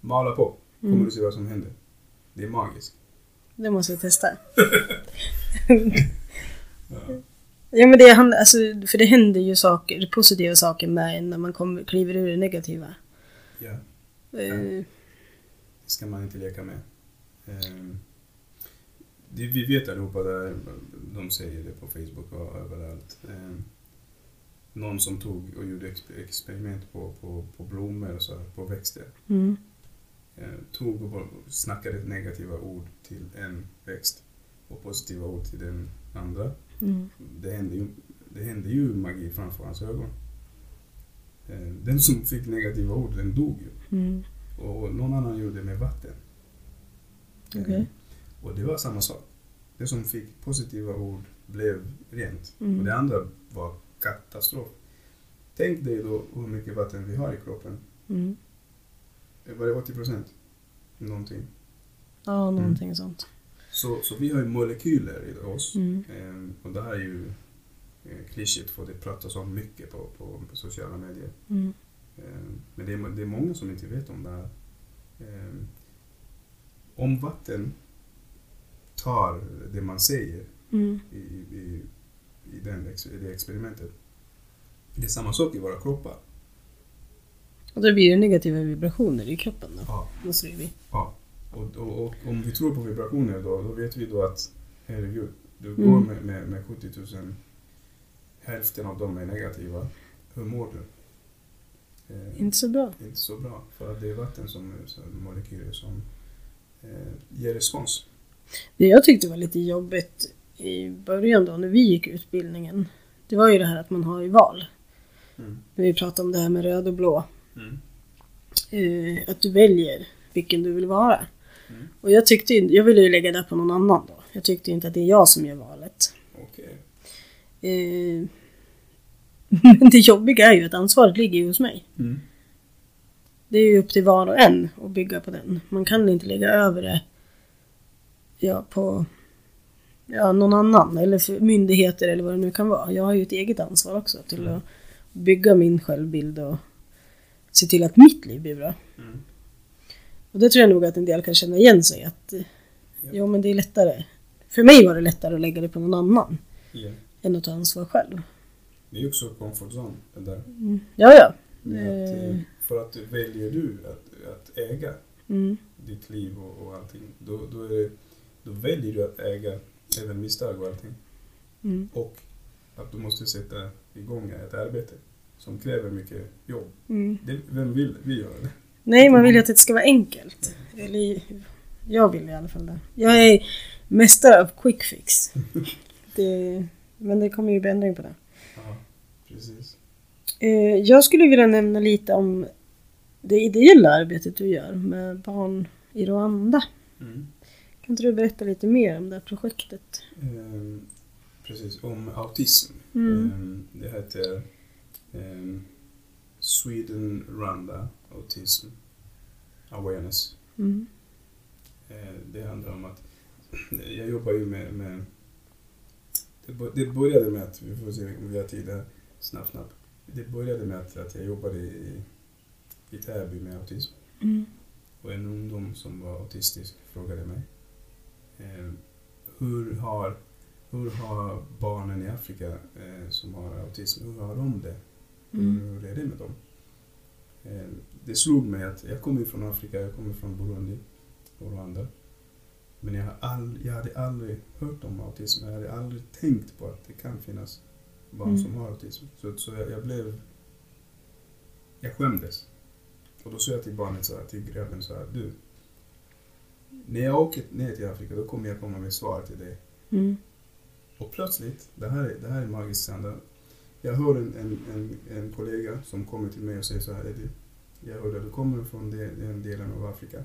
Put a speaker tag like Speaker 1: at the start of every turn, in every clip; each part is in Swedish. Speaker 1: Mala på. Kommer
Speaker 2: Mm.
Speaker 1: du se vad som händer. Det är magiskt.
Speaker 2: Det måste vi testa. ja men det handlar, alltså, för det händer ju saker, positiva saker med en när man kommer, kliver ur det negativa.
Speaker 1: Ja.
Speaker 2: Eh,
Speaker 1: Det ska man inte leka med. Ehm, det, vi vet allihopa där, de säger det på Facebook och överallt. Ehm, någon som tog och gjorde exper- experiment på, på, på blommor och så här, på växter.
Speaker 2: Mm.
Speaker 1: Ehm, tog och bara snackade negativa ord till en växt och positiva ord till den andra.
Speaker 2: Mm.
Speaker 1: Det hände ju, det hände ju magi framför hans ögon. Ehm, den som fick negativa ord, den dog ju.
Speaker 2: Mm.
Speaker 1: Och någon annan gjorde det med vatten.
Speaker 2: Okej.
Speaker 1: Och det var samma sak. Det som fick positiva ord blev rent.
Speaker 2: Mm.
Speaker 1: Och det andra var katastrof. Tänk dig då hur mycket vatten vi har i kroppen. Eh,
Speaker 2: Mm.
Speaker 1: Var det 80 procent? Någonting.
Speaker 2: Ja, någonting sånt.
Speaker 1: Så, så vi har ju molekyler i oss.
Speaker 2: Mm.
Speaker 1: Ehm, och det här är ju eh, klyschigt för det pratas om mycket på, på, på sociala medier.
Speaker 2: Mm.
Speaker 1: Ehm, men det är, det är många som inte vet om det här. Ehm, om vatten tar det man säger
Speaker 2: Mm.
Speaker 1: i, i, i, den, ex- i det experimentet. Det är samma sak i våra kroppar.
Speaker 2: Och då blir det negativa vibrationer i kroppen då.
Speaker 1: Ja.
Speaker 2: Måste det ju bli.
Speaker 1: ja. Och, och, och om vi tror på vibrationer då, då vet vi då att herregud, du
Speaker 2: Mm.
Speaker 1: går med, med, med 70 000, hälften av dem är negativa. Hur mår du? Eh,
Speaker 2: Inte så bra.
Speaker 1: inte så bra, för att det är vatten som, som molekyler som eh, ger respons.
Speaker 2: Det jag tyckte var lite jobbigt i början då när vi gick utbildningen. Det var ju det här att man har ju val.
Speaker 1: Mm.
Speaker 2: När vi pratade om det här med röd och blå.
Speaker 1: Mm.
Speaker 2: eh, att du väljer vilken du vill vara.
Speaker 1: Mm.
Speaker 2: Och jag tyckte ju- jag ville ju lägga det på någon annan då. Jag tyckte ju inte att det är jag som gör valet.
Speaker 1: Okej.
Speaker 2: Eh, Men det jobbiga är ju att ansvaret ligger ju hos mig.
Speaker 1: Mm.
Speaker 2: Det är ju upp till var och en att bygga på den. Man kan inte lägga över det ja, på ja, någon annan eller för myndigheter eller vad det nu kan vara. Jag har ju ett eget ansvar också till att bygga min självbild och se till att mitt liv blir bra.
Speaker 1: Mm.
Speaker 2: Och det tror jag nog att en del kan känna igen sig att eh,
Speaker 1: Ja.
Speaker 2: ja men det är lättare. För mig var det lättare att lägga det på någon annan
Speaker 1: Ja.
Speaker 2: än att ta ansvar själv. Mm.
Speaker 1: Det är ju också comfort zone, det där.
Speaker 2: Ja, ja.
Speaker 1: Men Att, eh,
Speaker 2: Eh.
Speaker 1: för att väljer du att, att äga
Speaker 2: Mm.
Speaker 1: ditt liv och, och allting, då, då, är det, då väljer du att äga även misstag och allting.
Speaker 2: Mm.
Speaker 1: Och att du måste sätta igång ett arbete som kräver mycket jobb.
Speaker 2: Mm.
Speaker 1: Det, vem vill vi göra det?
Speaker 2: Nej, man vill ju att det ska vara enkelt. Eller jag vill i alla fall det. Jag är mästare av quick fix. Det, men det kommer ju bli ändring på det.
Speaker 1: Ja, precis.
Speaker 2: Eh, Jag skulle vilja nämna lite om det ideella arbetet du gör med barn i Rwanda.
Speaker 1: Mm.
Speaker 2: Kan inte du berätta lite mer om det här projektet?
Speaker 1: Ehm, precis, om autism.
Speaker 2: Mm.
Speaker 1: Ehm, det heter ehm, Sweden Rwanda Autism Awareness
Speaker 2: Mm.
Speaker 1: Eh, Det handlar om att jag jobbar ju med, med det bo- det började med att, vi får se om vi har tid här, snabbt, snabbt. Det började med att, att jag jobbade i, i Täby med autism
Speaker 2: Mm.
Speaker 1: och en ungdom som var autistisk frågade mig eh, hur, har, hur har barnen i Afrika eh, som har autism, hur har de det?
Speaker 2: Mm.
Speaker 1: Hur är det med dem? Eh, Det slog mig att jag kommer ju från Afrika, jag kommer från Burundi och Rwanda. Men jag, har all, jag hade aldrig hört om autism, jag hade aldrig tänkt på att det kan finnas barn
Speaker 2: Mm.
Speaker 1: som har autism. Så, så jag, jag blev... Jag skämdes. Och då sa jag till barnet, så här, till grabben så här, du. När jag åker ner till Afrika då kommer jag komma med svar till dig.
Speaker 2: Mm.
Speaker 1: Och plötsligt, det här, är- det här är magiskt Sandra. Jag hör en, en, en, en kollega som kommer till mig och säger så här, Eddie, jag hörde att du kommer från de- den delen av Afrika.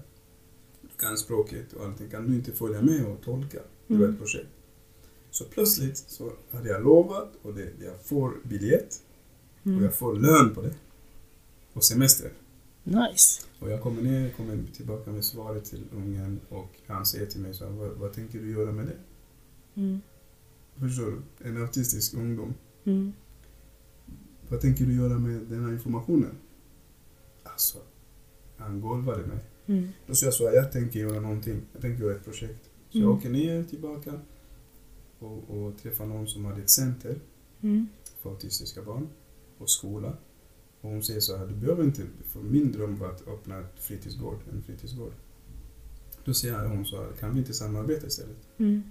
Speaker 1: Du kan språket och allting, kan du inte följa med och tolka? Det var ett
Speaker 2: Mm.
Speaker 1: projekt. Så plötsligt så hade jag lovat och det, jag får biljett och
Speaker 2: Mm.
Speaker 1: jag får lön på det. Och semester.
Speaker 2: Nice.
Speaker 1: Och jag kommer ner, kommer tillbaka med svaret till ungen och han säger till mig så här, vad, vad tänker du göra med det?
Speaker 2: Mm.
Speaker 1: Förstår du? En autistisk ungdom.
Speaker 2: Mm.
Speaker 1: Vad tänker du göra med den här informationen? Alltså, han golvade mig.
Speaker 2: Mm.
Speaker 1: Då sa jag så här, jag tänker göra någonting. Jag tänker göra ett projekt. Så
Speaker 2: Mm.
Speaker 1: jag åker ner tillbaka och, och träffar någon som hade ett center
Speaker 2: Mm.
Speaker 1: för autistiska barn och skola. Och hon säger så här, du behöver inte, för min dröm var att öppna ett fritidsgård, en fritidsgård. Då säger hon så här, kan vi inte samarbeta istället?
Speaker 2: Mm.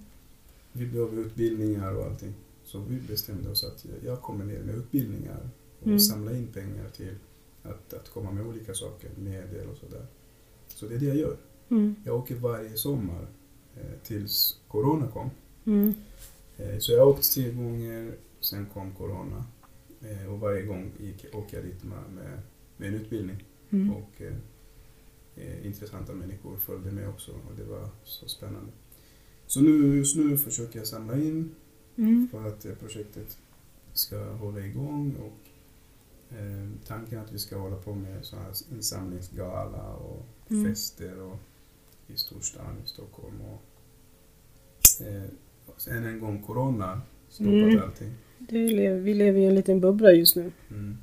Speaker 1: Vi behöver utbildningar och allting. Så vi bestämde oss att jag kommer ner med utbildningar och
Speaker 2: Mm.
Speaker 1: samlar in pengar till att, att komma med olika saker, medel och sådär. Så det är det jag gör.
Speaker 2: Mm.
Speaker 1: Jag åker varje sommar eh, tills corona kom.
Speaker 2: Mm.
Speaker 1: Eh, så jag har åkt tre gånger, sen kom corona. Eh, och varje gång gick, åker jag dit med, med, med en utbildning.
Speaker 2: Mm.
Speaker 1: Och eh, eh, intressanta människor följde med också och det var så spännande. Så nu, just nu försöker jag samla in
Speaker 2: Mm.
Speaker 1: för att eh, projektet ska hålla igång och eh, tanken är att vi ska hålla på med sådana här insamlingsgala och
Speaker 2: Mm.
Speaker 1: fester och i storstan i Stockholm. Och, eh, och sen en gång corona stoppat
Speaker 2: Mm.
Speaker 1: allting.
Speaker 2: Du lever, vi lever i en liten bubbla just nu.
Speaker 1: Mm.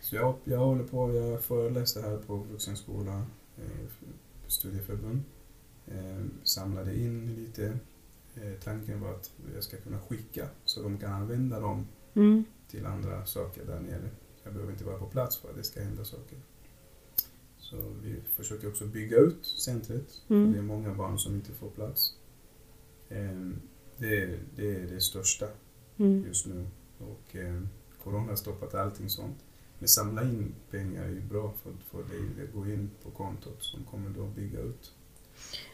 Speaker 1: Så jag, jag håller på, jag föreläste här på vuxenskola, eh, studieförbund. Eh, samlade in lite. Eh, tanken var att jag ska kunna skicka så de kan använda dem
Speaker 2: Mm.
Speaker 1: till andra saker där nere. Jag behöver inte vara på plats för att det ska hända saker. Så vi försöker också bygga ut centret.
Speaker 2: Mm.
Speaker 1: Det är många barn som inte får plats. Ehm, Det är det, är det största
Speaker 2: Mm.
Speaker 1: just nu. Och ehm, corona har stoppat allting sånt. Men samla in pengar är ju bra för, för det, det går in på kontot som kommer då bygga ut.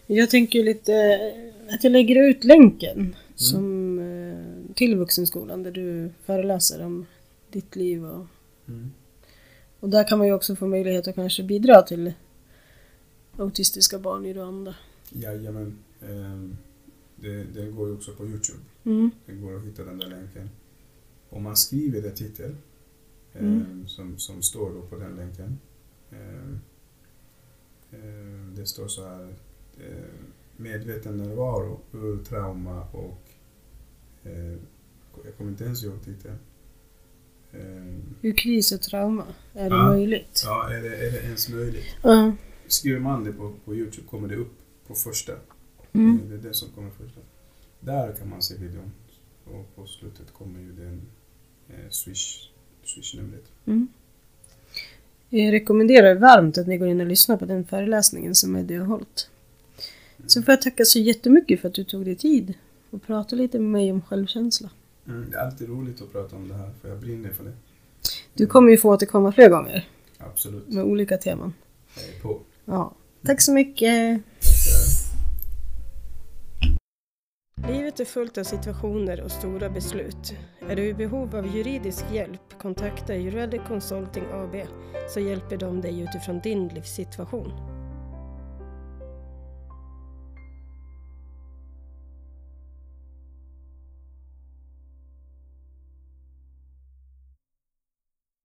Speaker 2: Jag tänker lite eh, att jag lägger ut länken som, eh, till Vuxenskolan där du föreläser om ditt liv och, och där kan man ju också få möjlighet att kanske bidra till autistiska barn i Rwanda.
Speaker 1: Jajamän. Ehm, Det, det går ju också på Youtube.
Speaker 2: Mm.
Speaker 1: Det går att hitta den där länken. Om man skriver det titel
Speaker 2: Mm.
Speaker 1: eh, som, som står då på den länken. Eh, eh, det står så här. Eh, medveten närvaro ur trauma och... Eh, jag kommer inte ens ihåg titeln. Eh,
Speaker 2: Ur kris och trauma, är det
Speaker 1: Ja.
Speaker 2: möjligt?
Speaker 1: ja, är det, är det ens möjligt?
Speaker 2: Ja.
Speaker 1: Skriver man det på, på Youtube kommer det upp på första.
Speaker 2: Mm.
Speaker 1: Det är det som kommer först. Där kan man se videon. Och på slutet kommer ju den eh, swish, swish-numret.
Speaker 2: Mm. Jag rekommenderar varmt att ni går in och lyssnar på den föreläsningen som Eddie har hållit. Så får jag tacka så jättemycket för att du tog dig tid och pratade lite med mig om självkänsla.
Speaker 1: Mm. Det är alltid roligt att prata om det här för jag brinner för det.
Speaker 2: Du kommer ju få återkomma fler gånger
Speaker 1: Absolut.
Speaker 2: med olika teman.
Speaker 1: Jag är på.
Speaker 2: Ja. Tack så mycket!
Speaker 1: Tackar.
Speaker 2: Livet är fullt av situationer och stora beslut. Är du i behov av juridisk hjälp, kontakta Juridic Consulting AB så hjälper de dig utifrån din livssituation.